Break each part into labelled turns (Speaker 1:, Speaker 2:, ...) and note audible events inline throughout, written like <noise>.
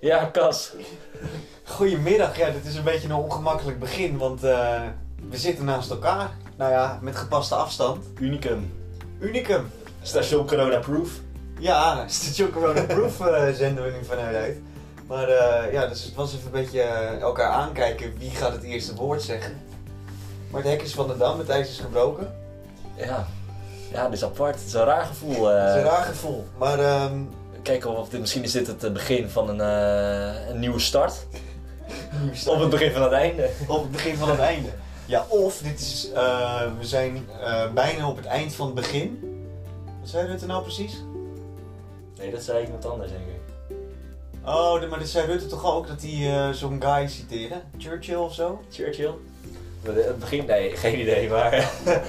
Speaker 1: Ja, Cas.
Speaker 2: Goedemiddag, ja, dit is een beetje een ongemakkelijk begin, want eh, we zitten naast elkaar. Nou ja, met gepaste afstand.
Speaker 1: Unicum.
Speaker 2: Unicum.
Speaker 1: Station Corona Proof.
Speaker 2: Ja, Station Corona Proof eh, zenden we nu vanuit uit. Maar eh, ja, dus het was even een beetje eh, elkaar aankijken wie gaat het eerste woord zeggen. Maar het hek is van de dam, het ijs is gebroken.
Speaker 1: Ja. Ja, dit is apart. Het is een raar gevoel. eh.
Speaker 2: Het is een raar gevoel, maar ehm,
Speaker 1: Kijken of dit, misschien is dit het eh, begin van een, eh, een nieuwe start.
Speaker 2: nu staat-
Speaker 1: Of het begin van het einde.
Speaker 2: op het begin van het einde. Ja, of dit is, eh, we zijn eh, bijna op het eind van het begin. Wat zei Rutte nou precies?
Speaker 1: Nee, dat zei iemand anders, denk ik.
Speaker 2: Oh, de- maar dat zei Rutte toch ook dat hij eh, zo'n guy citeerde? Churchill of zo?
Speaker 1: Churchill? Maar de- Het begin? Nee, <laughs> geen idee. Maar, <laughs>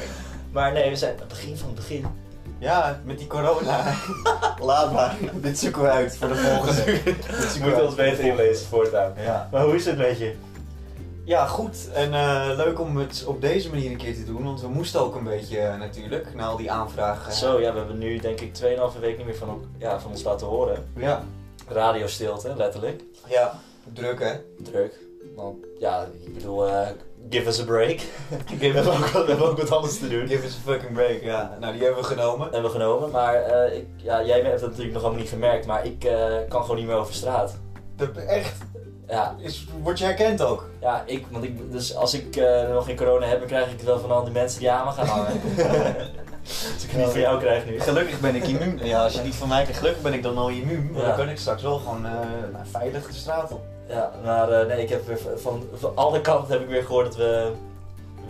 Speaker 1: maar nee, we zijn het begin van het begin.
Speaker 2: Ja, met die corona. <laughs> Laat maar. Dit zoeken we uit voor de volgende. <laughs> Dit
Speaker 1: Je
Speaker 2: zoeken we
Speaker 1: moet
Speaker 2: uit.
Speaker 1: ons beter inlezen voortaan.
Speaker 2: Ja.
Speaker 1: Maar hoe is het met je?
Speaker 2: ja, goed. En eh, leuk om het op deze manier een keer te doen. Want we moesten ook een beetje eh, natuurlijk. Na al die aanvragen.
Speaker 1: Zo, ja, we hebben nu denk ik 2,5 week niet meer van, elk- ja, van ons laten horen.
Speaker 2: Ja.
Speaker 1: Radiostilte, letterlijk.
Speaker 2: Ja. Druk hè?
Speaker 1: Druk. Want ja, ik bedoel, eh, give us a break. we, hebben ook, wat- we hebben ook wat anders te
Speaker 2: <laughs>
Speaker 1: doen.
Speaker 2: Give us a fucking break. Ja. Nou, die hebben we genomen.
Speaker 1: Hebben we genomen, maar eh, ik, ja, jij hebt dat natuurlijk nog helemaal niet gemerkt, maar ik eh, kan gewoon niet meer over straat.
Speaker 2: Dat echt.
Speaker 1: Ja,
Speaker 2: Is, word je herkend ook?
Speaker 1: ja ik, want ik, dus als ik eh, nog geen corona heb, dan krijg ik het wel van al die mensen die aan me gaan hangen. dus ik het niet van jou krijg nu.
Speaker 2: Gelukkig ben ik immuun. Ja, als je niet van mij krijgt, gelukkig ben ik dan al immuun. Maar
Speaker 1: Ja.
Speaker 2: Dan kan ik straks wel gewoon eh, nou, veilig de straat op.
Speaker 1: Ja, maar eh, nee, ik heb weer van, van, alle kanten heb ik weer gehoord dat we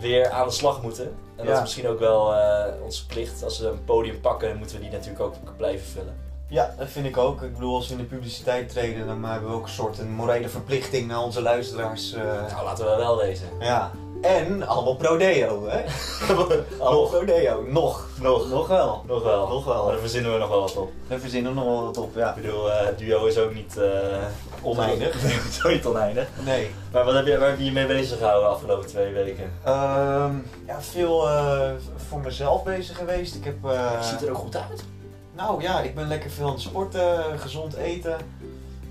Speaker 1: weer aan de slag moeten. En dat
Speaker 2: Ja.
Speaker 1: is misschien ook wel eh, onze plicht. Als we een podium pakken, dan moeten we die natuurlijk ook blijven vullen.
Speaker 2: Ja, dat vind ik ook. Ik bedoel, als we in de publiciteit treden, dan hebben we ook een soort een morele verplichting naar onze luisteraars. eh.
Speaker 1: Nou, laten we wel wezen.
Speaker 2: ja. En allemaal pro-deo, <laughs> hè? allemaal
Speaker 1: Nog.
Speaker 2: pro-deo. Nog. Nog. Nog wel.
Speaker 1: Nog wel.
Speaker 2: Nog wel.
Speaker 1: Maar daar verzinnen we nog wel wat op.
Speaker 2: Daar verzinnen we nog wel wat op,
Speaker 1: Ik
Speaker 2: ja.
Speaker 1: bedoel, eh, duo is ook niet... eh,
Speaker 2: Oneindig.
Speaker 1: Nee, <laughs> het is ook niet oneindig.
Speaker 2: Nee.
Speaker 1: Maar wat heb je, waar heb je je mee bezig gehouden de afgelopen twee weken?
Speaker 2: Ehm, ja, veel eh, voor mezelf bezig geweest. Ik heb... eh,
Speaker 1: Ziet er ook goed uit.
Speaker 2: Nou ja, ik ben lekker veel aan het sporten, gezond eten.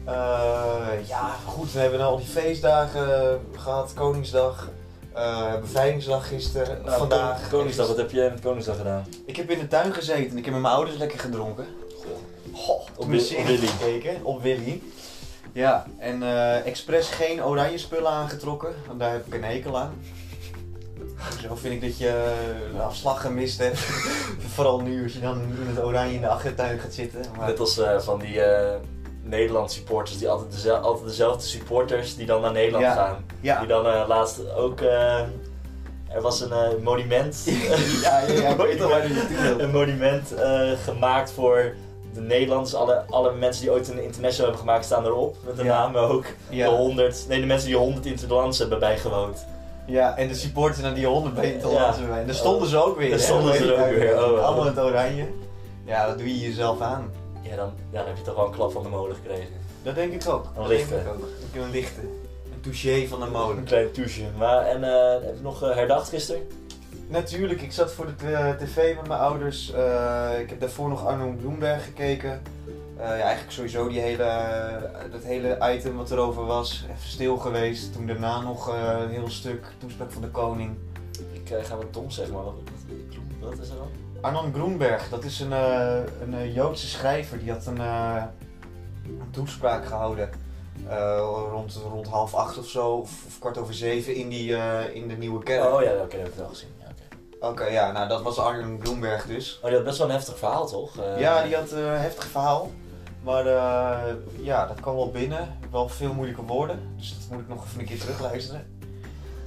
Speaker 2: Eh, ja, goed, we hebben nou al die feestdagen gehad. Koningsdag, eh, Bevrijdingsdag gisteren,
Speaker 1: Nou,
Speaker 2: vandaag.
Speaker 1: Kon- Koningsdag, wat heb je met Koningsdag gedaan?
Speaker 2: Ik heb in de tuin gezeten en ik heb met mijn ouders lekker gedronken. Goh,
Speaker 1: Op
Speaker 2: op
Speaker 1: Wi-
Speaker 2: Willy.
Speaker 1: op Willy.
Speaker 2: gekeken, op Willy. Ja, en eh, expres geen oranje spullen aangetrokken, want daar heb ik een hekel aan. Zo vind ik dat je eh, een afslag gemist hebt. <laughs> Vooral nu als je dan in het oranje in de achtertuin gaat zitten. Maar...
Speaker 1: Net als eh, van die eh Nederland supporters, die altijd, deze- altijd dezelfde supporters die dan naar Nederland
Speaker 2: Ja.
Speaker 1: gaan.
Speaker 2: Ja.
Speaker 1: Die dan eh, laatst ook. eh, er was een eh, monument.
Speaker 2: <laughs> Ja, ja, ja, ik weet
Speaker 1: <laughs>
Speaker 2: wel waar die naartoe wil.
Speaker 1: Een monument eh, gemaakt voor de Nederlanders. Alle, alle mensen die ooit een international hebben gemaakt staan erop. Met de
Speaker 2: Ja.
Speaker 1: namen ook. De
Speaker 2: Ja.
Speaker 1: 100. Nee, de mensen die 100 internationals hebben bijgewoond.
Speaker 2: ja, en de supporter naar die honden beter
Speaker 1: Ja.
Speaker 2: laten we. En daar stonden ze ook weer.
Speaker 1: Daar
Speaker 2: hè?
Speaker 1: stonden ze er ook weer,
Speaker 2: <laughs>
Speaker 1: oh, oh.
Speaker 2: Allemaal in het oranje. Ja, dat doe je jezelf aan.
Speaker 1: Ja, dan, ja, dan heb je toch wel een klap van de molen gekregen.
Speaker 2: Dat denk ik ook. dat
Speaker 1: lichte.
Speaker 2: Denk ik ook. Ik wil Een lichte. Een touché van de
Speaker 1: Een
Speaker 2: molen. <laughs>
Speaker 1: klein touche. Maar en, eh, heb je nog eh, herdacht gisteren?
Speaker 2: Natuurlijk, ik zat voor de t- eh, tv met mijn ouders. Eh, ik heb daarvoor nog Arno Bloemberg gekeken. Eh, ja, eigenlijk sowieso die hele, eh, dat hele item wat erover was. Even stil geweest. Toen daarna nog eh, een heel stuk toespraak van de koning.
Speaker 1: Ik eh, ga wat dom zeggen, maar wat, wat is er dan?
Speaker 2: Arnon Groenberg, dat is een, eh, een eh, Joodse schrijver. Die had een, eh, een toespraak gehouden eh, rond, rond half acht of zo, of, of kwart over zeven in, die, eh, in de Nieuwe Kerk.
Speaker 1: Oh ja, oké, dat heb ik wel gezien. Ja, oké.
Speaker 2: Oké, ja, nou dat was Arnon Groenberg dus.
Speaker 1: Oh, die had best wel een heftig verhaal, toch? Eh,
Speaker 2: ja, die had eh, een heftig verhaal. Maar eh, ja, dat kwam wel binnen. Wel veel moeilijke woorden, dus dat moet ik nog even een keer terugluisteren.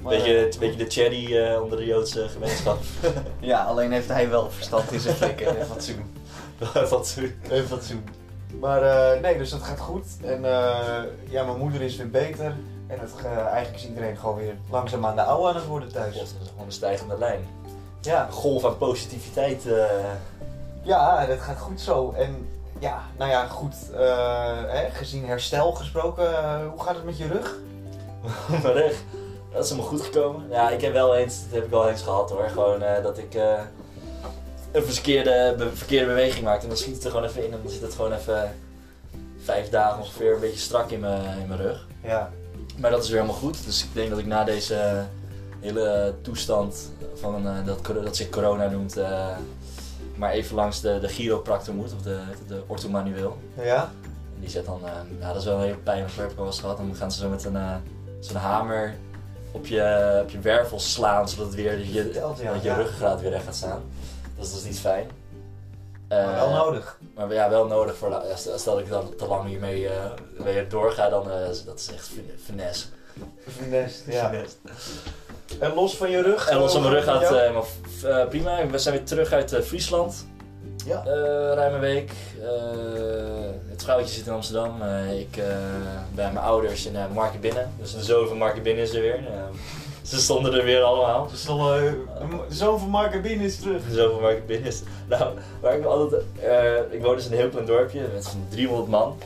Speaker 2: Maar,
Speaker 1: beetje,
Speaker 2: eh,
Speaker 1: beetje de cherry eh, onder de Joodse gemeenschap. <laughs>
Speaker 2: Ja, alleen heeft hij wel verstand in zijn flikken en fatsoen.
Speaker 1: Wat zo-
Speaker 2: Een fatsoen. Maar eh, nee, dus dat gaat goed. En eh, ja, mijn moeder is weer beter. En het, ge- eigenlijk is iedereen gewoon weer langzaam aan de oude aan het worden
Speaker 1: God,
Speaker 2: thuis.
Speaker 1: dat is gewoon een stijgende lijn.
Speaker 2: Ja,
Speaker 1: Een golf aan positiviteit. eh. <laughs>
Speaker 2: ja dat gaat goed zo. En ja, nou ja, goed. eh, hè, gezien herstel gesproken, eh, hoe gaat het met je rug?
Speaker 1: maar echt, dat is helemaal goed gekomen. Ja, ik heb wel eens, dat heb ik wel eens gehad hoor. Gewoon eh, dat ik eh, een verkeerde, be- verkeerde beweging maakte. En dan schiet het er gewoon even in en dan zit het gewoon even vijf dagen ongeveer een beetje strak in mijn, in mijn rug.
Speaker 2: Ja.
Speaker 1: Maar dat is weer helemaal goed. Dus ik denk dat ik na deze eh, hele toestand van eh, dat, cor- dat zich corona noemt, eh, maar even langs de, de chiropractor moet, of de, de orthomanueel.
Speaker 2: Ja?
Speaker 1: En die zet dan, eh, ja, dat is wel een hele pijn wat ik wel eens gehad. Dan gaan ze zo met een, eh, zo'n hamer op je, op je wervel slaan, zodat het weer je,
Speaker 2: Verteld, ja.
Speaker 1: dat je
Speaker 2: ja.
Speaker 1: ruggengraat weer recht gaat staan. Dat is dus niet fijn.
Speaker 2: Maar wel
Speaker 1: Eh,
Speaker 2: nodig.
Speaker 1: Maar ja, wel nodig voor, la- ja, stel stel dat ik dan te lang hiermee eh, weer doorga, dan eh, dat is echt fin- finesse.
Speaker 2: Nest, ja. En los van je rug?
Speaker 1: En los
Speaker 2: eh,
Speaker 1: aan mijn rug
Speaker 2: van
Speaker 1: gaat
Speaker 2: jou?
Speaker 1: eh, helemaal f- eh, prima. We zijn weer terug uit eh, Friesland.
Speaker 2: Ja.
Speaker 1: Eh, ruim een week. Eh, het vrouwtje zit in Amsterdam. Eh, ik eh, bij mijn ouders in eh Marken Binnen. Dus de zoon van Marken Binnen is er weer. Eh, ze stonden er weer allemaal.
Speaker 2: Dus dan, eh, de zoon van Mark Abin is terug.
Speaker 1: Zo van waar ik binnen is. Nou, waar ik me altijd. eh, ik woon dus in een heel klein dorpje met zo'n 300 man.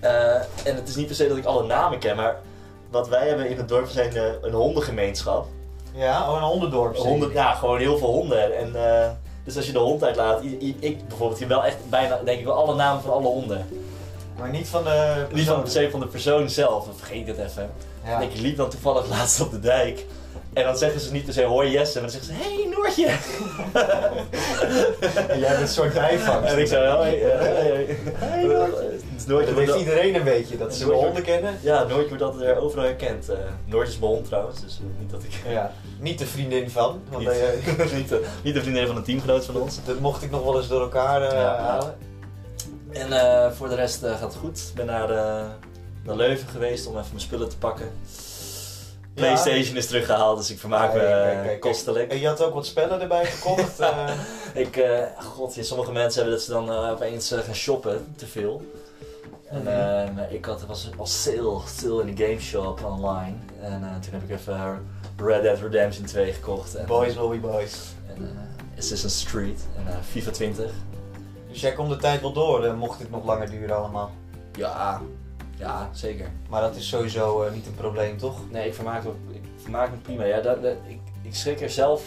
Speaker 1: Eh, en het is niet per se dat ik alle namen ken, maar wat wij hebben in het dorp zijn eh, een hondengemeenschap.
Speaker 2: Ja, oh, een hondendorp. zeg je.
Speaker 1: Honden, ja, gewoon heel veel honden. En, eh, dus als je de hond uitlaat, i- i- ik bijvoorbeeld, hier wel echt bijna, denk ik wel alle namen van alle honden.
Speaker 2: Maar niet van de...
Speaker 1: Niet van per se van de persoon zelf, dan vergeet ik het even.
Speaker 2: Ja.
Speaker 1: En ik liep dan toevallig <laughs> laatst op de dijk. En dan zeggen ze niet per se hoi Jesse, maar dan zeggen ze hey Noortje.
Speaker 2: En <laughs> jij bent een soort
Speaker 1: <laughs>
Speaker 2: bijvangst.
Speaker 1: En ik zei, hoi, eh, hoi, hoi.
Speaker 2: <laughs> Hey, Noortje.
Speaker 1: Het is
Speaker 2: Dat
Speaker 1: Noortje wordt
Speaker 2: heeft
Speaker 1: al-
Speaker 2: iedereen een beetje, dat ze de
Speaker 1: Noortje-
Speaker 2: honden kennen.
Speaker 1: Ja, Noortje wordt altijd eh, overal herkend. Eh Noortje is mijn hond trouwens, dus eh, niet dat ik...
Speaker 2: Ja. Niet de vriendin van, want
Speaker 1: niet,
Speaker 2: dat, eh,
Speaker 1: <laughs>
Speaker 2: <laughs>
Speaker 1: niet, de, niet de vriendin van een teamgenoot van ons.
Speaker 2: dat mocht ik nog wel eens door elkaar eh,
Speaker 1: Ja.
Speaker 2: halen.
Speaker 1: En eh, voor de rest eh, gaat het goed. Ik ben naar, eh, naar Leuven geweest om even mijn spullen te pakken. Playstation is teruggehaald, dus ik vermaak me
Speaker 2: Kijk,
Speaker 1: eh,
Speaker 2: kijk, kijk, kijk.
Speaker 1: kostelijk.
Speaker 2: En je had ook wat spellen erbij
Speaker 1: <laughs>
Speaker 2: gekocht. eh.
Speaker 1: Ik, eh, god, ja, sommige mensen hebben dat ze dan eh, opeens eh, gaan shoppen, te veel.
Speaker 2: Mhm.
Speaker 1: En eh, maar ik had, was al sale, sale in de game shop online. En eh, toen heb ik even Red Dead Redemption 2 gekocht. En,
Speaker 2: boys will be boys.
Speaker 1: En eh, Assassin's Street en eh, FIFA 20.
Speaker 2: Dus jij komt de tijd wel door, eh, mocht dit nog langer duren allemaal.
Speaker 1: Ja, ja, zeker.
Speaker 2: Maar dat is sowieso eh, niet een probleem, toch?
Speaker 1: Nee, ik vermaak me, ik vermaak me prima. Ja, dat, dat- ik, ik schrik er zelf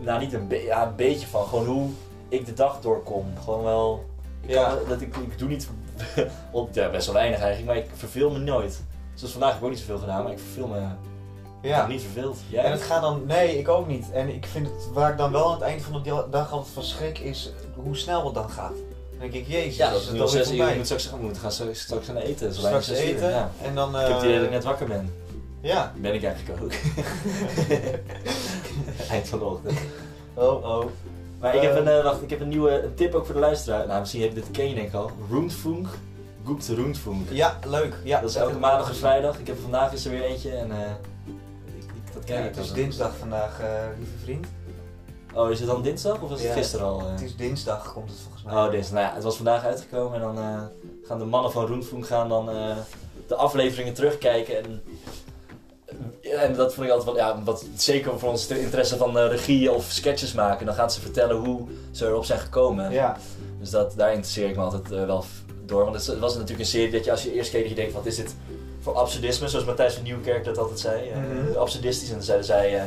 Speaker 1: nou, niet een, be- ja, een beetje van. Gewoon hoe ik de dag doorkom. Gewoon wel. Ik,
Speaker 2: Ja.
Speaker 1: kan- dat ik, ik doe niet. <laughs> op, ja, best wel weinig eigenlijk, maar ik verveel me nooit. Zoals vandaag heb ik ook niet zoveel gedaan, maar ik verveel me. Ik
Speaker 2: Ja.
Speaker 1: heb niet verveeld. Jij?
Speaker 2: En het gaat dan, nee, ik ook niet. En ik vind het, waar ik dan wel aan het eind van de dia- dag altijd van schrik, is hoe snel het dan gaat. Dan denk ik, jezus,
Speaker 1: ja, dat
Speaker 2: is
Speaker 1: is
Speaker 2: het
Speaker 1: nu al
Speaker 2: dan weer
Speaker 1: zes uur. Ik moet
Speaker 2: voorbij.
Speaker 1: straks, we moeten gaan straks, straks gaan eten. zo
Speaker 2: Straks
Speaker 1: weinig zes uur,
Speaker 2: eten
Speaker 1: ja.
Speaker 2: en
Speaker 1: Ik
Speaker 2: dan...
Speaker 1: heb het idee dat
Speaker 2: eh,
Speaker 1: ik net wakker ben.
Speaker 2: Ja.
Speaker 1: Ben ik eigenlijk
Speaker 2: <laughs>
Speaker 1: ook. <laughs> Eind van de ochtend.
Speaker 2: Oh, oh.
Speaker 1: Maar ik heb, een,
Speaker 2: Eh,
Speaker 1: eh, wacht, ik heb een nieuwe een tip ook voor de luisteraar. Nou, misschien heb je dit ken je denk ik al. Roentfunk. Goekt Roentfunk.
Speaker 2: Ja, leuk. Ja,
Speaker 1: dat is elke maandag en vrijdag. Ik heb vandaag is er weer eentje en eh, ik, ik, dat ken
Speaker 2: Ja,
Speaker 1: ik
Speaker 2: het
Speaker 1: al.
Speaker 2: is dinsdag vandaag, eh, lieve vriend.
Speaker 1: Oh, is het dan dinsdag of was het
Speaker 2: Ja.
Speaker 1: gisteren al? eh?
Speaker 2: Het is dinsdag, komt het volgens mij.
Speaker 1: Oh, dinsdag. Nou ja, het was vandaag uitgekomen en dan eh, gaan de mannen van Roentfunk gaan dan eh, de afleveringen terugkijken en... eh, En dat vond ik altijd wel, ja, wat zeker voor ons de interesse van eh, regie of sketches maken. Dan gaan ze vertellen hoe ze erop zijn gekomen.
Speaker 2: Ja,
Speaker 1: Dus dat, daar interesseer ik me altijd eh, wel f- door. Want het, het was natuurlijk een serie dat je als je eerst keek dat je denkt, wat is dit voor absurdisme? Zoals Matthijs van Nieuwkerk dat altijd zei. eh,
Speaker 2: Mhm.
Speaker 1: Absurdistisch. En dan zeiden zij, eh,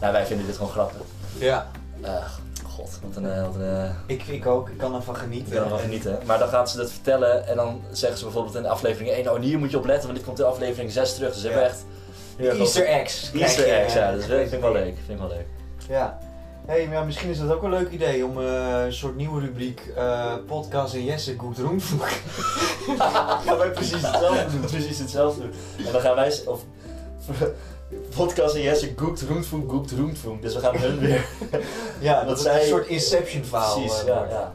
Speaker 1: nou wij vinden dit gewoon grappig.
Speaker 2: ja.
Speaker 1: Eh, god, wat een... eh, wat een eh,
Speaker 2: Ik, ik ook, ik kan ervan
Speaker 1: ik
Speaker 2: genieten.
Speaker 1: kan ervan genieten. Maar dan gaan ze dat vertellen en dan zeggen ze bijvoorbeeld in aflevering 1, oh hier moet je op letten, want dit komt in aflevering 6 terug. Dus ze hebben
Speaker 2: Ja.
Speaker 1: echt...
Speaker 2: De Easter eggs. krijg
Speaker 1: Easter
Speaker 2: je,
Speaker 1: eggs, ja.
Speaker 2: eh,
Speaker 1: Dus dat vind ik wel leuk. Vind ik wel leuk.
Speaker 2: Ja. Hey, maar ja, misschien is dat ook een leuk idee om eh, een soort nieuwe rubriek eh, podcast en Jesse goed roemvoer.
Speaker 1: gaan wij precies hetzelfde doen. Precies hetzelfde doen. En dan gaan wij... s- Of, <laughs> podcast en Jesse goekt roentvoem, goekt roentvoem. Dus we gaan hun weer...
Speaker 2: <laughs> Ja,
Speaker 1: Dat
Speaker 2: dat is
Speaker 1: zij-
Speaker 2: een soort Inception <laughs> verhaal.
Speaker 1: precies,
Speaker 2: eh,
Speaker 1: ja,
Speaker 2: wordt.
Speaker 1: ja.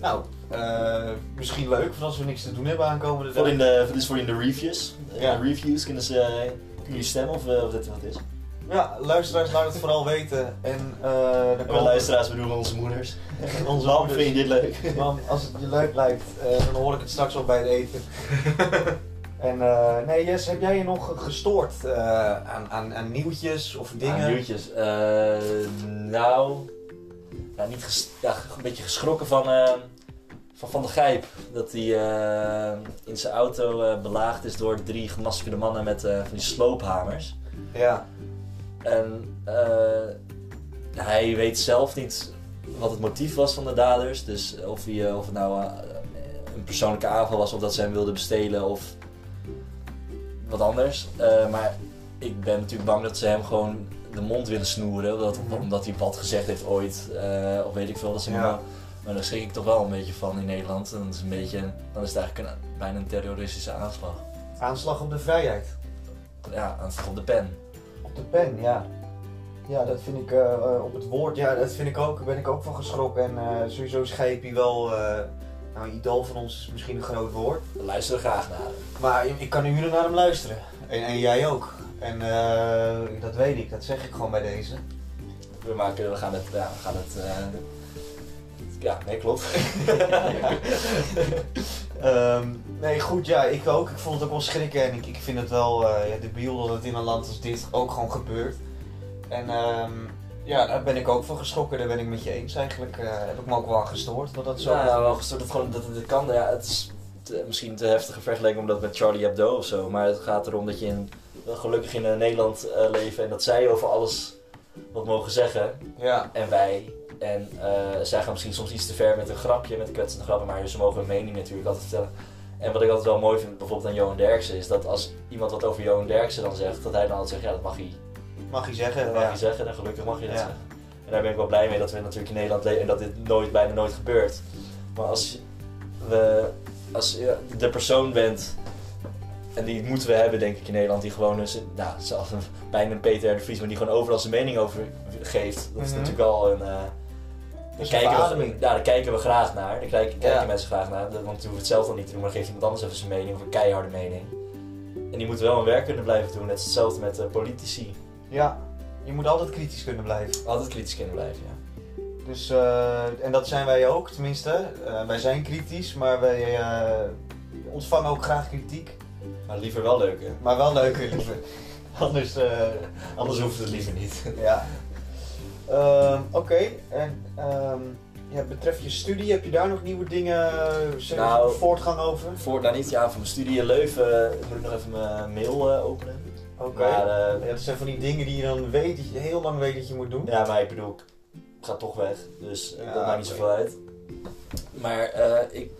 Speaker 2: Nou, eh, misschien leuk voor als we niks te doen hebben aankomende
Speaker 1: Voor
Speaker 2: dag.
Speaker 1: in de, dit is voor in de reviews. In
Speaker 2: Ja.
Speaker 1: de reviews kunnen ze... eh, Kunnen jullie stemmen of, eh, of dit wat is?
Speaker 2: Ja, luisteraars, laat het vooral weten. En eh dan
Speaker 1: En we
Speaker 2: komen
Speaker 1: luisteraars bedoelen onze moeders.
Speaker 2: en <laughs> onze
Speaker 1: Mam,
Speaker 2: ouders.
Speaker 1: vind je dit leuk?
Speaker 2: Mam, als het je leuk lijkt, eh, dan hoor ik het straks al bij het eten. en eh, nee, Jess, heb jij je nog gestoord eh, aan, aan, aan nieuwtjes of dingen?
Speaker 1: Ah, nieuwtjes. Eh, nou... ja, niet ges- ja, een beetje geschrokken van... eh, van Van der Gijp, dat hij eh, in zijn auto eh, belaagd is door drie gemaskerde mannen met eh, van die sloophamers.
Speaker 2: Ja.
Speaker 1: En eh, hij weet zelf niet wat het motief was van de daders. Dus of, hij, eh, of het nou eh, een persoonlijke aanval was of dat ze hem wilden bestelen of wat anders. Eh, maar ik ben natuurlijk bang dat ze hem gewoon de mond willen snoeren, omdat,
Speaker 2: Mhm.
Speaker 1: omdat hij wat gezegd heeft ooit, eh, of weet ik veel. Dat ze hem
Speaker 2: Ja.
Speaker 1: wel- maar daar schrik ik toch wel een beetje van in Nederland. Dan is, een beetje, dan is het eigenlijk een- bijna een terroristische aanslag.
Speaker 2: Aanslag op de vrijheid.
Speaker 1: Ja, aanslag op de pen.
Speaker 2: Op de pen, ja. Ja, dat vind ik eh, eh, op het woord. Ja, dat vind ik ook. Daar ben ik ook van geschrokken. En eh, sowieso is Gepie wel. eh nou, idool van ons is misschien een groot woord.
Speaker 1: Luister er graag naar.
Speaker 2: Maar ik ik kan uren naar hem luisteren. En, en jij ook. En eh, dat weet ik, dat zeg ik gewoon bij deze.
Speaker 1: We, maken, we gaan het. Ja, we gaan het eh, ja, nee, klopt.
Speaker 2: <laughs> Ehm, nee, goed, ja, ik ook. Ik vond het ook wel schrikken en ik, ik vind het wel eh ja, debiel dat het in een land als dit ook gewoon gebeurt. En ehm, ja, daar ben ik ook van geschrokken, daar ben ik met je eens eigenlijk. Eh, heb ik me ook wel aan gestoord dat dat zo
Speaker 1: Nou, Ja, wel gestoord. Dat gewoon, dat, dat kan, ja, het is te- misschien te heftige vergelijking omdat met Charlie Hebdo of zo. Maar het gaat erom dat je in, wel gelukkig in eh, Nederland eh, leeft en dat zij over alles wat mogen zeggen.
Speaker 2: Ja,
Speaker 1: En wij. En eh, zij gaan misschien soms iets te ver met een grapje, met een kwetsende grappen, maar ze mogen hun mening natuurlijk altijd vertellen. En wat ik altijd wel mooi vind bijvoorbeeld aan Johan Derksen is dat als iemand wat over Johan Derksen dan zegt, dat hij dan altijd zegt, ja dat mag hij
Speaker 2: mag je zeggen.
Speaker 1: dat mag
Speaker 2: ja.
Speaker 1: je zeggen en gelukkig mag je dat
Speaker 2: Ja.
Speaker 1: zeggen. En daar ben ik wel blij mee dat we natuurlijk in Nederland leven en dat dit nooit, bijna nooit gebeurt. Maar als, we, als je de persoon bent, en die moeten we hebben denk ik in Nederland, die gewoon een, nou, zelf een, <laughs> bijna een Peter R. de Vries, maar die gewoon overal zijn mening over geeft. Dat is
Speaker 2: Mhm.
Speaker 1: natuurlijk al een... eh,
Speaker 2: Dat
Speaker 1: daar
Speaker 2: is
Speaker 1: kijken, we,
Speaker 2: verademing.
Speaker 1: ja, daar kijken we graag naar. Daar kijken, kijken
Speaker 2: Ja.
Speaker 1: mensen graag naar. Want die hoeven het zelf dan niet te doen, maar dan geeft iemand anders even zijn mening of een keiharde mening. En die moeten wel hun werk kunnen blijven doen. Net als hetzelfde met eh, politici.
Speaker 2: Ja, je moet altijd kritisch kunnen blijven.
Speaker 1: Altijd kritisch kunnen blijven, ja.
Speaker 2: Dus, eh, en dat zijn wij ook, tenminste. Eh, wij zijn kritisch, maar wij eh, ontvangen ook graag kritiek.
Speaker 1: Maar liever wel leuke.
Speaker 2: Maar wel leuker, <laughs> liever. Anders, eh,
Speaker 1: Anders hoeft het liever niet.
Speaker 2: ja. Ehm, Oké, en ehm, ja, betreft je studie, heb je daar nog nieuwe dingen, zeg,
Speaker 1: Nou,
Speaker 2: voortgang over?
Speaker 1: <laughs> Voor nou niet, ja, voor mijn studie in Leuven eh, moet ik nog even mijn mail eh, openen.
Speaker 2: Oké.
Speaker 1: Maar, eh,
Speaker 2: Ja, dat zijn van die dingen die je dan weet, dat je heel lang weet dat je moet doen.
Speaker 1: ja, maar ik bedoel, ik ga toch weg, dus eh,
Speaker 2: Ja,
Speaker 1: dat maakt niet
Speaker 2: oké.
Speaker 1: zoveel uit. Maar eh, ik,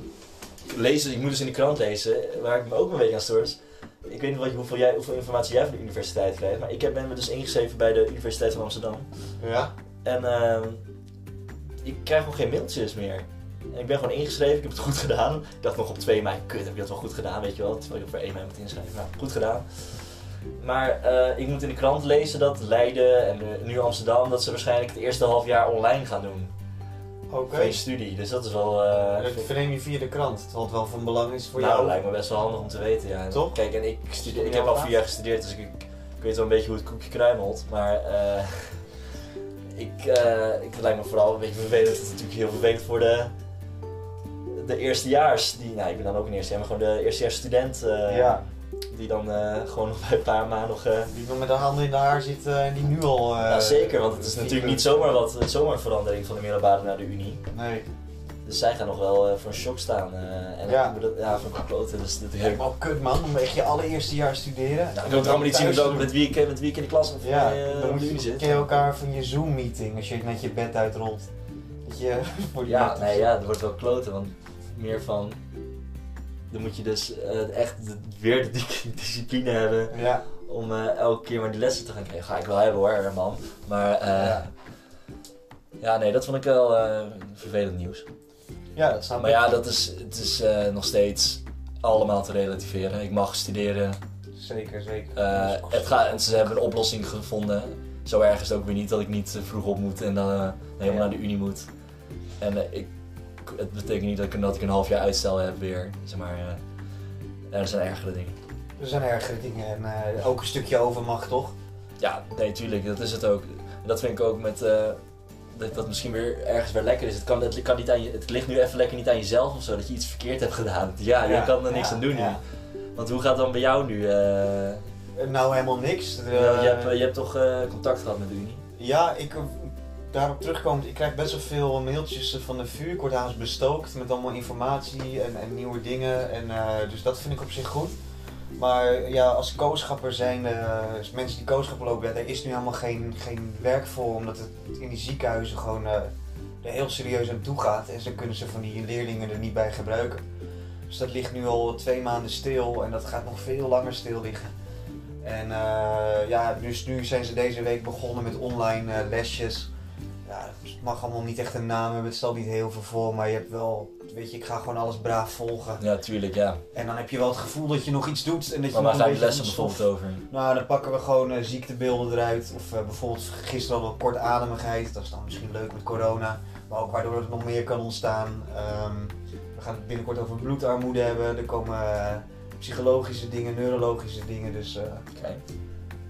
Speaker 1: lees, ik moet dus in de krant lezen, waar ik me ook een beetje aan stoor. is, Ik weet niet wat, hoeveel, jij, hoeveel informatie jij van de universiteit krijgt, maar ik heb, ben me dus ingeschreven bij de Universiteit van Amsterdam.
Speaker 2: Ja.
Speaker 1: En ehm, ik krijg gewoon geen mailtjes meer. En ik ben gewoon ingeschreven, ik heb het goed gedaan. Ik dacht nog op 2 mei, kut, heb ik dat wel goed gedaan, weet je wel. Terwijl je voor 1 mei moet inschrijven. Nou, goed gedaan. Maar eh, ik moet in de krant lezen dat Leiden en eh, nu Amsterdam, dat ze waarschijnlijk het eerste half jaar online gaan doen.
Speaker 2: Oké.
Speaker 1: Geen studie, dus dat is wel... eh,
Speaker 2: En Dat
Speaker 1: vind ik-
Speaker 2: verneem je via de krant, terwijl het wel van belang is voor
Speaker 1: nou,
Speaker 2: jou.
Speaker 1: lijkt me best wel handig om te weten, ja. En
Speaker 2: Toch?
Speaker 1: Kijk, en ik, studeer-
Speaker 2: Voor
Speaker 1: ik
Speaker 2: jou
Speaker 1: heb al
Speaker 2: graag.
Speaker 1: vier jaar gestudeerd, dus ik, ik weet wel een beetje hoe het koekje kruimelt. Maar eh, <laughs> ik, eh, ik het lijkt me vooral een beetje vervelend. Het is natuurlijk heel vervelend voor de, de eerstejaars. Die, nou, ik ben dan ook een eerstejaar, maar gewoon de eerstejaars student. eh,
Speaker 2: Ja,
Speaker 1: Die dan eh, gewoon nog bij een paar maanden nog... eh,
Speaker 2: die nog met de handen in de haar zit eh, en die nu al... eh,
Speaker 1: ja, zeker, want het is natuurlijk niet
Speaker 2: vieren.
Speaker 1: zomaar, wat, zomaar een verandering van de middelbare naar de unie.
Speaker 2: Nee.
Speaker 1: Dus zij gaan nog wel eh, voor een shock staan. eh, en
Speaker 2: Ja.
Speaker 1: dat- ja, voor een klote. Dus dat
Speaker 2: Lijkt me ook kut man, om echt je allereerste jaar studeren.
Speaker 1: Ja, ik wil het allemaal niet zien met,
Speaker 2: Thuis
Speaker 1: welke- met, wie ik, met wie ik in de klas of
Speaker 2: Ja,
Speaker 1: eh,
Speaker 2: dan
Speaker 1: op de
Speaker 2: moet
Speaker 1: unie
Speaker 2: je,
Speaker 1: zit.
Speaker 2: ken je elkaar van je Zoom-meeting als je net je bed uitrolt. Dat je <laughs> voor die
Speaker 1: Ja,
Speaker 2: laptop
Speaker 1: nee,
Speaker 2: zit.
Speaker 1: ja, dat wordt wel kloten, want meer van... eh, Dan moet je dus eh, echt de- weer de di- <laughs> discipline hebben
Speaker 2: Ja,
Speaker 1: om eh, elke keer maar die lessen te gaan krijgen. Ga ik wel hebben hoor, man. Maar eh, ja.
Speaker 2: ja.
Speaker 1: nee, dat vond ik wel eh, vervelend nieuws.
Speaker 2: ja, dat snap
Speaker 1: Maar
Speaker 2: ik.
Speaker 1: ja, dat is, het is eh, nog steeds allemaal te relativeren. Ik mag studeren.
Speaker 2: Zeker, zeker.
Speaker 1: Eh,
Speaker 2: Dat is-
Speaker 1: het gaat, en ze hebben een oplossing gevonden. Zo erg is het ook weer niet dat ik niet eh, vroeg op moet en dan eh, helemaal
Speaker 2: Ja.
Speaker 1: naar de unie moet. En eh, ik, het betekent niet dat ik, dat ik een half jaar uitstel heb weer. Zeg maar, eh, er zijn ergere dingen.
Speaker 2: Er zijn ergere dingen en eh, ook een stukje overmacht, toch?
Speaker 1: Ja, nee, tuurlijk, dat is het ook. En dat vind ik ook met. eh, dat dat misschien weer ergens weer lekker is. Het, kan, het, kan niet aan je, het ligt nu even lekker niet aan jezelf of zo, dat je iets verkeerd hebt gedaan. Ja, je kan er niks
Speaker 2: ja,
Speaker 1: aan doen
Speaker 2: ja.
Speaker 1: nu. Want hoe gaat het dan bij jou nu? eh?
Speaker 2: Eh, Nou, helemaal niks. Eh,
Speaker 1: je, hebt, je hebt toch eh, contact gehad met de Unie?
Speaker 2: Ja, ik, eh, daarop terugkomend, ik krijg best wel veel mailtjes eh, van de vuur. Ik word haast bestookt met allemaal informatie en, en nieuwe dingen. En, eh, dus dat vind ik op zich goed. Maar ja, als kooschapper zijn, eh, als mensen die kooschapper lopen, ja, daar is nu helemaal geen, geen werk voor. Omdat het in die ziekenhuizen gewoon eh, er heel serieus aan toe gaat. En ze kunnen ze van die leerlingen er niet bij gebruiken. Dus dat ligt nu al twee maanden stil en dat gaat nog veel langer stil liggen. En eh, ja, dus nu zijn ze deze week begonnen met online eh, lesjes. Ja, het mag allemaal niet echt een naam hebben, het stelt niet heel veel voor, maar je hebt wel, weet je, ik ga gewoon alles braaf volgen.
Speaker 1: Ja, tuurlijk, ja.
Speaker 2: En dan heb je wel het gevoel dat je nog iets doet en dat je
Speaker 1: Maar
Speaker 2: nog
Speaker 1: waar
Speaker 2: een
Speaker 1: gaan de
Speaker 2: beetje
Speaker 1: lessen
Speaker 2: goed stof-
Speaker 1: bijvoorbeeld over?
Speaker 2: nou, dan pakken we gewoon eh, ziektebeelden eruit. Of eh, bijvoorbeeld gisteren hadden we kortademigheid. Dat is dan misschien leuk met corona. Maar ook waardoor het nog meer kan ontstaan. Ehm, we gaan het binnenkort over bloedarmoede hebben. Er komen eh, psychologische dingen, neurologische dingen. Dus eh,
Speaker 1: Kijk.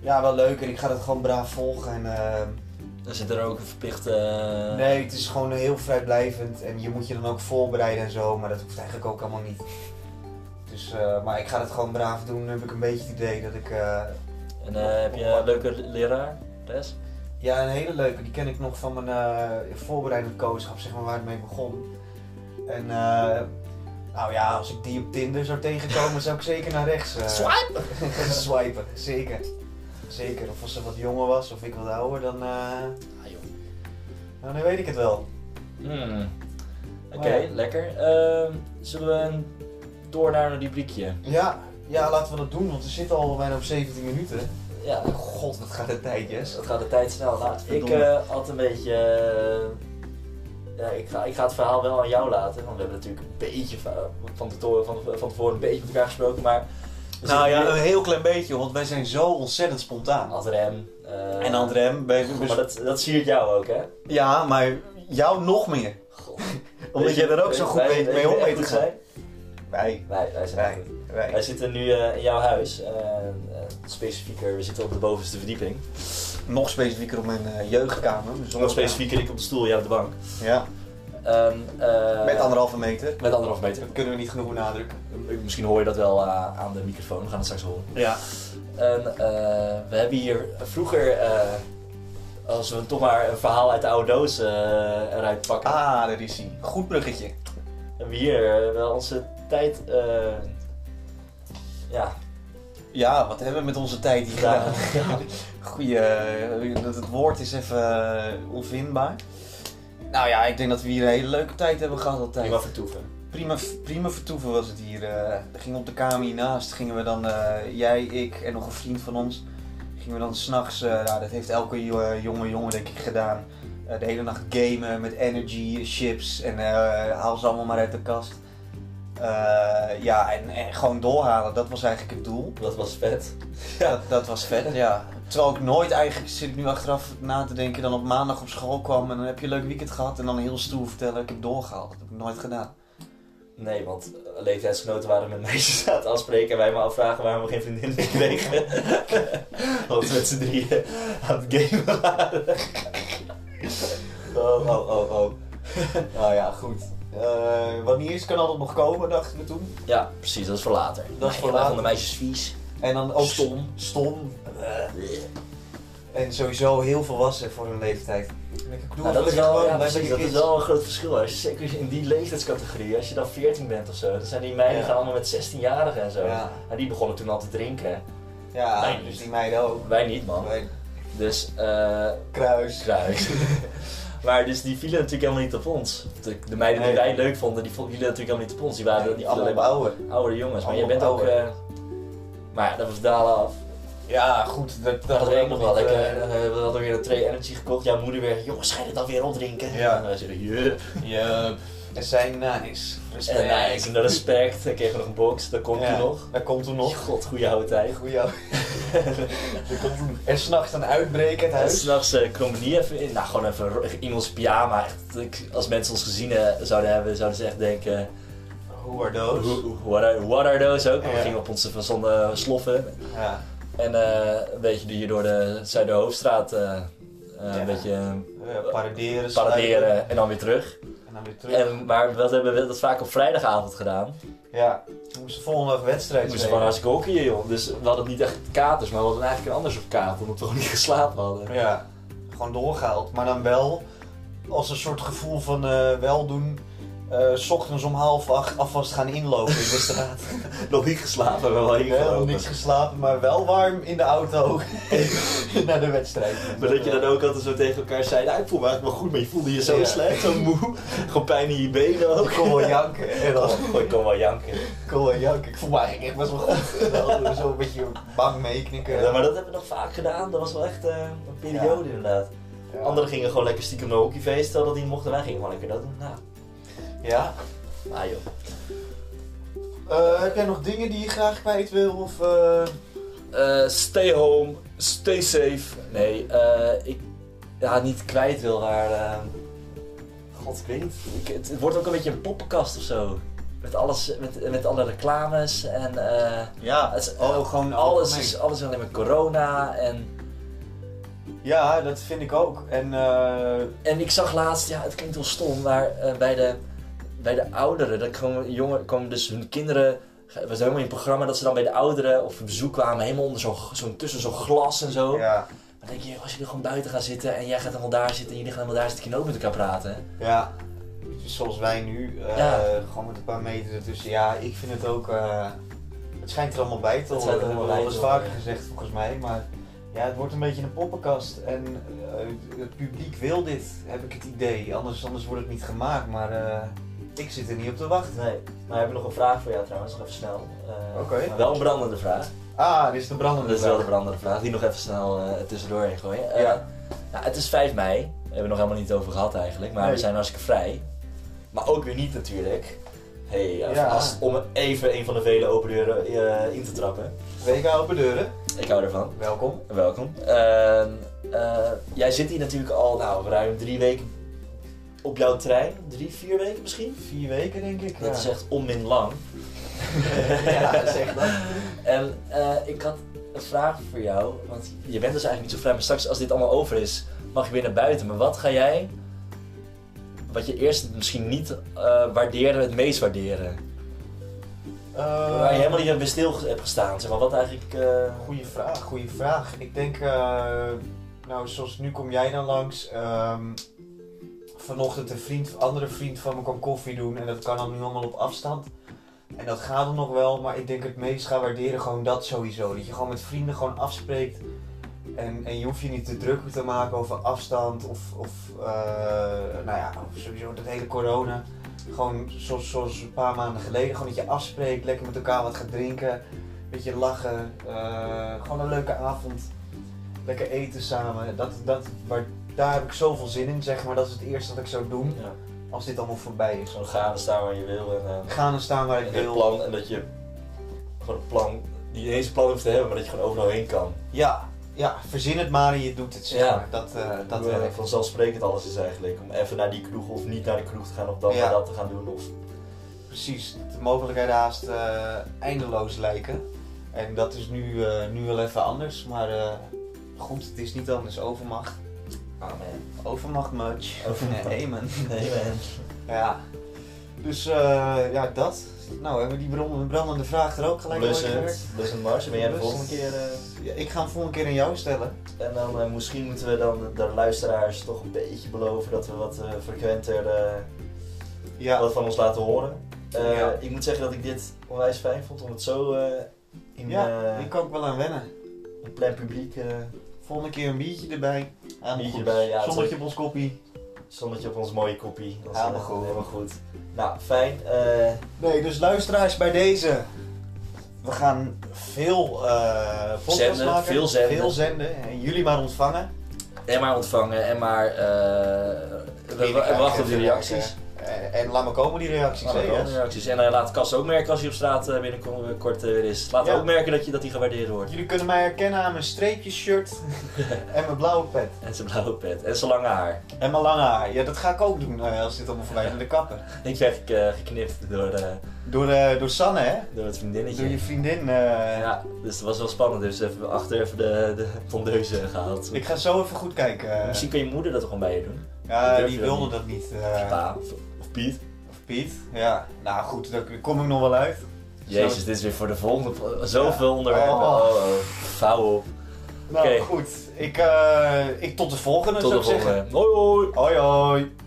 Speaker 2: ja, wel leuk. En ik ga dat gewoon braaf volgen. En, eh,
Speaker 1: Dan zit er ook een verplichte... eh,
Speaker 2: nee, het is gewoon eh, heel vrijblijvend. En je moet je dan ook voorbereiden en zo. Maar dat hoeft eigenlijk ook allemaal niet. Dus, eh, maar ik ga dat gewoon braaf doen. Dan heb ik een beetje het idee dat ik... eh,
Speaker 1: En eh, heb je een leuke leraar? Res?
Speaker 2: Ja, een hele leuke. Die ken ik nog van mijn eh, voorbereidend coachschap, zeg maar, waar het mee begon. En eh, nou ja, als ik die op Tinder zou tegenkomen, zou ik zeker naar rechts eh,
Speaker 1: Swipe!
Speaker 2: <laughs> swipen. Zeker. Zeker. Of als ze wat jonger was of ik wat ouder, dan, eh,
Speaker 1: Ah, joh.
Speaker 2: nou, dan weet ik het wel.
Speaker 1: Hmm. Oké,
Speaker 2: Maar Oh, ja.
Speaker 1: lekker. Ehm, zullen we door naar een rubriekje?
Speaker 2: Ja, ja, laten we dat doen, want we zitten al bijna op 17 minuten.
Speaker 1: Ja,
Speaker 2: God, wat gaat de tijd, yes.
Speaker 1: Het gaat de tijd snel. Nou, ik
Speaker 2: Godverdomme.
Speaker 1: eh, had een beetje. eh, ja, ik, ga, ik ga het verhaal wel aan jou laten. Want we hebben natuurlijk een beetje van, van, tevoren, van, van tevoren een beetje met elkaar gesproken. Maar we
Speaker 2: Nou
Speaker 1: zitten
Speaker 2: ja,
Speaker 1: hier
Speaker 2: een heel klein beetje, want wij zijn zo ontzettend spontaan.
Speaker 1: Ad Rem. eh,
Speaker 2: En Andrem, wij-
Speaker 1: Maar dat, dat siert jou ook, hè?
Speaker 2: dus- ja, maar jou nog meer.
Speaker 1: God.
Speaker 2: Omdat
Speaker 1: Weet
Speaker 2: jij er ook
Speaker 1: weet-
Speaker 2: zo goed
Speaker 1: wij-
Speaker 2: mee,
Speaker 1: weet
Speaker 2: mee
Speaker 1: je
Speaker 2: om
Speaker 1: echt
Speaker 2: weet te
Speaker 1: goed
Speaker 2: gaan.
Speaker 1: zijn?
Speaker 2: Wij,
Speaker 1: Wij, wij zijn
Speaker 2: wij,
Speaker 1: goed. Wij
Speaker 2: wij.
Speaker 1: zitten nu eh, in jouw huis. eh, eh, specifieker, we zitten op de bovenste verdieping.
Speaker 2: Nog specifieker op mijn eh, jeugdkamer. Dus
Speaker 1: Nog specifieker, ik op de stoel, jij op de bank.
Speaker 2: Ja,
Speaker 1: Ehm, eh,
Speaker 2: met anderhalve meter.
Speaker 1: Met anderhalf meter.
Speaker 2: Dat kunnen we niet genoeg benadrukken.
Speaker 1: Misschien hoor je dat wel eh, aan de microfoon, we gaan het straks horen.
Speaker 2: Ja.
Speaker 1: En eh, we hebben hier vroeger, eh, als we toch maar een verhaal uit de oude doos eh, eruit pakken,
Speaker 2: Ah, daar is hij. Goed bruggetje.
Speaker 1: hebben we hier eh, wel onze tijd eh, ja,
Speaker 2: Ja, wat hebben we met onze tijd hier
Speaker 1: gedaan.
Speaker 2: gedaan? Goeie, eh, dat het woord is even eh, onvindbaar. Nou ja, ik denk dat we hier een hele leuke tijd hebben gehad altijd.
Speaker 1: Prima vertoeven.
Speaker 2: Prima, prima vertoeven was het hier. eh we gingen op de kamer hiernaast, gingen we dan, eh, jij, ik en nog een vriend van ons, gingen we dan s'nachts, eh nou, dat heeft elke jo- eh, jonge jongen denk ik gedaan, Eh, de hele nacht gamen met energy, chips en eh, haal ze allemaal maar uit de kast. Eh, ja, en, en gewoon doorhalen, dat was eigenlijk het doel.
Speaker 1: Dat was vet.
Speaker 2: <laughs> Ja. Dat, dat was vet, ja. Terwijl ik nooit eigenlijk, zit ik nu achteraf na te denken, dan op maandag op school kwam en dan heb je een leuk weekend gehad en dan heel stoer vertellen, ik heb doorgehaald. Dat heb ik nooit gedaan.
Speaker 1: Nee, want eh, leeftijdsgenoten waren met meisjes aan het afspreken en wij me afvragen waarom we geen vriendin meer <laughs> kregen. Want we met z'n drieën aan het gamen waren.
Speaker 2: Oh, oh, oh, oh. <laughs> nou ja, goed. Eh, wat niet is, kan altijd nog komen, dachten we toen.
Speaker 1: Ja, precies, dat is voor later.
Speaker 2: voor
Speaker 1: Nee, wij
Speaker 2: later.
Speaker 1: vonden meisjes vies.
Speaker 2: En dan ook
Speaker 1: Stom.
Speaker 2: Stom. Eh, en sowieso heel volwassen voor hun leeftijd. Lekker knoer,
Speaker 1: Nou, dat is
Speaker 2: lekker
Speaker 1: wel,
Speaker 2: gewoon,
Speaker 1: ja,
Speaker 2: lekker
Speaker 1: precies, dat is
Speaker 2: kind.
Speaker 1: wel een groot verschil. Als je, zeker in die leeftijdscategorie, als je dan 14 bent of zo, dan zijn die meiden
Speaker 2: Ja.
Speaker 1: gaan allemaal met 16-jarigen en zo.
Speaker 2: Ja,
Speaker 1: En die begonnen toen al te drinken.
Speaker 2: ja
Speaker 1: Wij
Speaker 2: dus
Speaker 1: niet.
Speaker 2: die meiden ook.
Speaker 1: Wij niet, man.
Speaker 2: Wij-
Speaker 1: Dus, eh.
Speaker 2: Kruis.
Speaker 1: kruis. <laughs> maar dus die vielen natuurlijk helemaal niet op ons. De, de meiden die
Speaker 2: Nee.
Speaker 1: wij leuk vonden, die vo- vielen natuurlijk helemaal niet op ons. Die waren die
Speaker 2: die
Speaker 1: vielen
Speaker 2: allemaal
Speaker 1: alleen
Speaker 2: bouwen.
Speaker 1: maar oudere jongens. Maar je
Speaker 2: Allemaal
Speaker 1: bent ook. eh, maar ja, dat was dalen af.
Speaker 2: Ja, goed. Dat,
Speaker 1: Dat hadden we ook nog wel
Speaker 2: niet,
Speaker 1: lekker.
Speaker 2: eh,
Speaker 1: En, eh, we hadden weer een Trey Energy gekocht. Jouw moeder weer, jongens, ga je dit dan weer opdrinken?
Speaker 2: Ja.
Speaker 1: En wij zeiden, "Jup."
Speaker 2: Jup. En eh, zijn nice.
Speaker 1: En eh, ik naar respect, dan kregen we nog een box, dat komt
Speaker 2: Ja,
Speaker 1: toen nog.
Speaker 2: Dat komt toen nog.
Speaker 1: God, goede oude <laughs> tijd.
Speaker 2: Goeie. Dat komt toen. En s'nachts dan uitbreken het
Speaker 1: En
Speaker 2: huis.
Speaker 1: s'nachts eh kwam er niet even in, nou gewoon even ro- in ons pyjama. Echt, ik- als mensen ons gezien eh, zouden hebben, zouden ze echt denken,
Speaker 2: Hoe are
Speaker 1: who-
Speaker 2: those?
Speaker 1: who- what are, what are those ook? En We
Speaker 2: Ja.
Speaker 1: gingen op onze verzonde sloffen.
Speaker 2: Ja.
Speaker 1: En eh, een beetje die hier door de Zuiderhoofdstraat eh eh,
Speaker 2: Ja.
Speaker 1: een beetje eh,
Speaker 2: Eh, paraderen, sluipen
Speaker 1: paraderen en dan weer terug.
Speaker 2: En dan weer terug.
Speaker 1: En, maar wat hebben we dat vaak op vrijdagavond gedaan?
Speaker 2: Ja, we moesten volgende dag wedstrijd
Speaker 1: Ik moest
Speaker 2: spelen.
Speaker 1: gewoon hartstikke hockeyen, joh. Dus we hadden niet echt katers, maar we hadden eigenlijk een ander soort kater, omdat we gewoon niet geslapen hadden.
Speaker 2: Ja, gewoon doorgehaald. Maar dan wel als een soort gevoel van eh, weldoen. Eh, eh, s ochtends om half acht alvast gaan inlopen in
Speaker 1: <laughs>
Speaker 2: de straat.
Speaker 1: Nog niet geslapen, maar wel
Speaker 2: Helemaal
Speaker 1: ingelopen.
Speaker 2: niks geslapen, maar wel warm in de auto <laughs> naar de wedstrijd.
Speaker 1: Maar dat je dan ook altijd zo tegen elkaar zei, nou ik voel me eigenlijk wel goed, maar je voelde je zo
Speaker 2: Ja.
Speaker 1: slecht, zo moe. <laughs> Gewoon pijn in je benen
Speaker 2: Ik <laughs>
Speaker 1: ook.
Speaker 2: kon
Speaker 1: <laughs>
Speaker 2: wel janken. En dan,
Speaker 1: Oh, ik kon wel janken.
Speaker 2: ik kon wel janken. Ik voel me eigenlijk echt best wel
Speaker 1: <laughs>
Speaker 2: goed. En dan hadden we zo een beetje bang meeknikken.
Speaker 1: Ja, maar dat hebben we nog vaak gedaan. Dat was wel echt eh, een periode inderdaad.
Speaker 2: Ja.
Speaker 1: Anderen gingen gewoon lekker stiekem naar hockeyfeest, terwijl dat die mochten. Wij gingen gewoon lekker dat doen. Nou,
Speaker 2: Ja.
Speaker 1: ah joh.
Speaker 2: Eh, heb jij nog dingen die je graag kwijt wil? Of, eh,
Speaker 1: Eh, stay home, stay safe. Nee, eh, ik ja, niet kwijt wil, maar. eh, God, ik weet niet. Ik- het, het wordt ook een beetje een poppenkast of zo. Met, alles, met, met alle reclames en. eh,
Speaker 2: Ja,
Speaker 1: het is-
Speaker 2: oh, gewoon
Speaker 1: alles,
Speaker 2: algemeen.
Speaker 1: is, alles is alleen maar corona en.
Speaker 2: Ja, dat vind ik ook. En eh,
Speaker 1: En ik zag laatst, ja, het klinkt wel stom, maar eh, bij, de, bij de ouderen, dat komen, jongen, komen dus hun kinderen, het was helemaal in het programma, dat ze dan bij de ouderen of op bezoek kwamen, helemaal onder zo'n, zo'n- tussen zo'n glas en zo.
Speaker 2: ja,
Speaker 1: Maar denk je, als jullie gewoon buiten gaan zitten en jij gaat helemaal daar zitten en jullie gaan helemaal daar zitten, kun je ook met elkaar praten.
Speaker 2: ja. Zoals wij nu, eh,
Speaker 1: Ja.
Speaker 2: gewoon met een paar meter ertussen. Ja, ik vind het ook. eh, het schijnt er allemaal bij te
Speaker 1: Het
Speaker 2: horen.
Speaker 1: schijnt
Speaker 2: Dat
Speaker 1: er
Speaker 2: hebben we
Speaker 1: allemaal bij
Speaker 2: al eens
Speaker 1: te horen,
Speaker 2: vaker gezegd volgens mij. Maar ja, het wordt een beetje een poppenkast. En eh, het publiek wil dit, heb ik het idee. Anders, anders wordt het niet gemaakt. Maar eh, ik zit er niet op te wachten.
Speaker 1: Nee, maar we hebben nog een vraag voor jou trouwens, nog even snel. Eh,
Speaker 2: Oké. maar
Speaker 1: Wel een brandende vraag.
Speaker 2: Ah, dit is de brandende.
Speaker 1: Dat is wel
Speaker 2: vraag.
Speaker 1: de brandende vraag, die nog even snel eh tussendoor heen gooien. Eh,
Speaker 2: Ja.
Speaker 1: nou, het is 5 mei, daar hebben we nog helemaal niet over gehad eigenlijk, maar
Speaker 2: Nee.
Speaker 1: we zijn hartstikke vrij. Maar ook weer niet natuurlijk. Hey, eh,
Speaker 2: Ja.
Speaker 1: als- om even een van de vele open deuren eh, in te trappen.
Speaker 2: WK open deuren.
Speaker 1: Ik hou ervan.
Speaker 2: Welkom.
Speaker 1: Welkom. Ehm, eh, jij zit hier natuurlijk al nou, ruim drie weken op jouw trein. Drie, vier weken misschien?
Speaker 2: Vier weken denk ik.
Speaker 1: Dat
Speaker 2: ja.
Speaker 1: is echt onmin lang.
Speaker 2: <laughs> ja, zeg dat.
Speaker 1: En eh, ik had een vraag voor jou, want je bent dus eigenlijk niet zo vrij, maar straks als dit allemaal over is, mag je weer naar buiten. Maar wat ga jij, wat je eerst misschien niet eh, waarderen, het meest waarderen?
Speaker 2: Eh,
Speaker 1: Waar je helemaal niet bij stil hebt gestaan, zeg maar. Wat eigenlijk... eh,
Speaker 2: Goeie vraag, goeie vraag. Ik denk, eh, nou, zoals nu kom jij dan langs. ehm, vanochtend een vriend, andere vriend van me kwam koffie doen en dat kan dan nu allemaal op afstand. En dat gaat dan nog wel, maar ik denk het meest ga waarderen gewoon dat sowieso. Dat je gewoon met vrienden gewoon afspreekt. En, en je hoeft je niet te druk te maken over afstand of, of eh, nou ja, sowieso dat hele corona. Gewoon zoals, zoals een paar maanden geleden, gewoon dat je afspreekt, lekker met elkaar wat gaat drinken. Een beetje lachen, eh, gewoon een leuke avond. Lekker eten samen. Dat, dat, waar, daar heb ik zoveel zin in, zeg maar. Dat is het eerste wat ik zou doen
Speaker 1: ja,
Speaker 2: als dit allemaal voorbij is.
Speaker 1: gewoon gaan en staan waar je wil en... eh,
Speaker 2: Gaan en staan waar ik
Speaker 1: en een
Speaker 2: wil.
Speaker 1: plan en dat je gewoon een plan, niet eens een plan hoeft te hebben, maar dat je gewoon overal heen kan.
Speaker 2: Ja, ja, verzin het maar en je doet het, zeg
Speaker 1: Ja.
Speaker 2: maar. Dat, eh dat
Speaker 1: Hoe, eh,
Speaker 2: wil ik.
Speaker 1: vanzelfsprekend alles is eigenlijk. Om even naar die kroeg of niet naar de kroeg te gaan of dan
Speaker 2: Ja.
Speaker 1: maar dat te gaan doen of...
Speaker 2: Precies, de mogelijkheden haast eh, eindeloos lijken. En dat is nu, eh, nu wel even anders, maar eh, goed, het is niet anders. Overmacht. Ah,
Speaker 1: Amen.
Speaker 2: Overmacht much.
Speaker 1: <laughs> Overmacht.
Speaker 2: Nee, man.
Speaker 1: Nee man.
Speaker 2: Ja. Dus eh, ja, dat. Nou, hebben we die bron- brandende vraag er ook gelijk bij
Speaker 1: Blussend,
Speaker 2: gewerkt?
Speaker 1: Blussend Mars, ben jij de
Speaker 2: Blus-
Speaker 1: volgende keer? eh,
Speaker 2: Ja, ik ga hem volgende keer aan jou stellen.
Speaker 1: en dan eh, misschien moeten we dan de, de luisteraars toch een beetje beloven dat we wat eh, frequenter eh,
Speaker 2: Ja,
Speaker 1: wat van ons laten horen. Eh,
Speaker 2: Ja.
Speaker 1: Ik moet zeggen dat ik dit onwijs fijn vond om het zo eh, in
Speaker 2: ja
Speaker 1: eh,
Speaker 2: ik kan ook wel aan wennen.
Speaker 1: een plein publiek, eh
Speaker 2: Volgende keer een biertje erbij. Helemaal
Speaker 1: Biertje
Speaker 2: goed.
Speaker 1: erbij, ja, het
Speaker 2: Zonnetje
Speaker 1: is-
Speaker 2: op ons koppie.
Speaker 1: zonnetje op ons mooie koppie. Dat is,
Speaker 2: Helemaal
Speaker 1: eh,
Speaker 2: goed.
Speaker 1: Helemaal goed. Nou, fijn. eh,
Speaker 2: Nee, dus luisteraars bij deze. We gaan veel eh podcasts
Speaker 1: Zenden,
Speaker 2: maken.
Speaker 1: veel zenden.
Speaker 2: Veel zenden. En jullie maar ontvangen.
Speaker 1: en maar ontvangen en maar... eh, we- we, we
Speaker 2: Binnenkijken,
Speaker 1: wachten op die
Speaker 2: even
Speaker 1: reacties.
Speaker 2: kijken. eh, En, en laat maar komen die reacties.
Speaker 1: Laat maar
Speaker 2: hè,
Speaker 1: komen,
Speaker 2: yes.
Speaker 1: die reacties. En eh, laat Cas ook merken als hij op straat eh, binnenkort eh, weer is. Laat
Speaker 2: Ja.
Speaker 1: ook merken dat hij dat die gewaardeerd wordt.
Speaker 2: Jullie kunnen mij herkennen aan mijn streepjes shirt
Speaker 1: <laughs>
Speaker 2: en mijn blauwe pet.
Speaker 1: En zijn blauwe pet. En zijn lange haar.
Speaker 2: En mijn lange haar. Ja, dat ga ik ook doen eh, als dit allemaal voorbij is met de kapper.
Speaker 1: Ik werd eh, geknipt door, eh,
Speaker 2: Door, eh, door Sanne, hè?
Speaker 1: door het
Speaker 2: Door je
Speaker 1: vriendinnetje.
Speaker 2: vriendin. eh.
Speaker 1: Ja, dus dat was wel spannend. Dus even achter even de, de tondeuze gehaald.
Speaker 2: Ik ga zo even goed kijken. eh.
Speaker 1: Misschien kan je moeder dat gewoon bij je doen.
Speaker 2: ja,
Speaker 1: durf
Speaker 2: die
Speaker 1: je dat
Speaker 2: wilde
Speaker 1: niet.
Speaker 2: dat niet. eh.
Speaker 1: Of pa. Of, of Piet.
Speaker 2: Of Piet. Ja. Nou goed, daar kom ik nog wel uit.
Speaker 1: Jezus, dit is weer voor de volgende. Zoveel onderwerpen.
Speaker 2: Oh.
Speaker 1: Oh, oh. Vouw op.
Speaker 2: Nou
Speaker 1: Oké.
Speaker 2: goed, ik, eh, ik tot de volgende
Speaker 1: Tot
Speaker 2: zou
Speaker 1: de
Speaker 2: ik zeggen.
Speaker 1: volgende. Hoi hoi.
Speaker 2: Hoi hoi.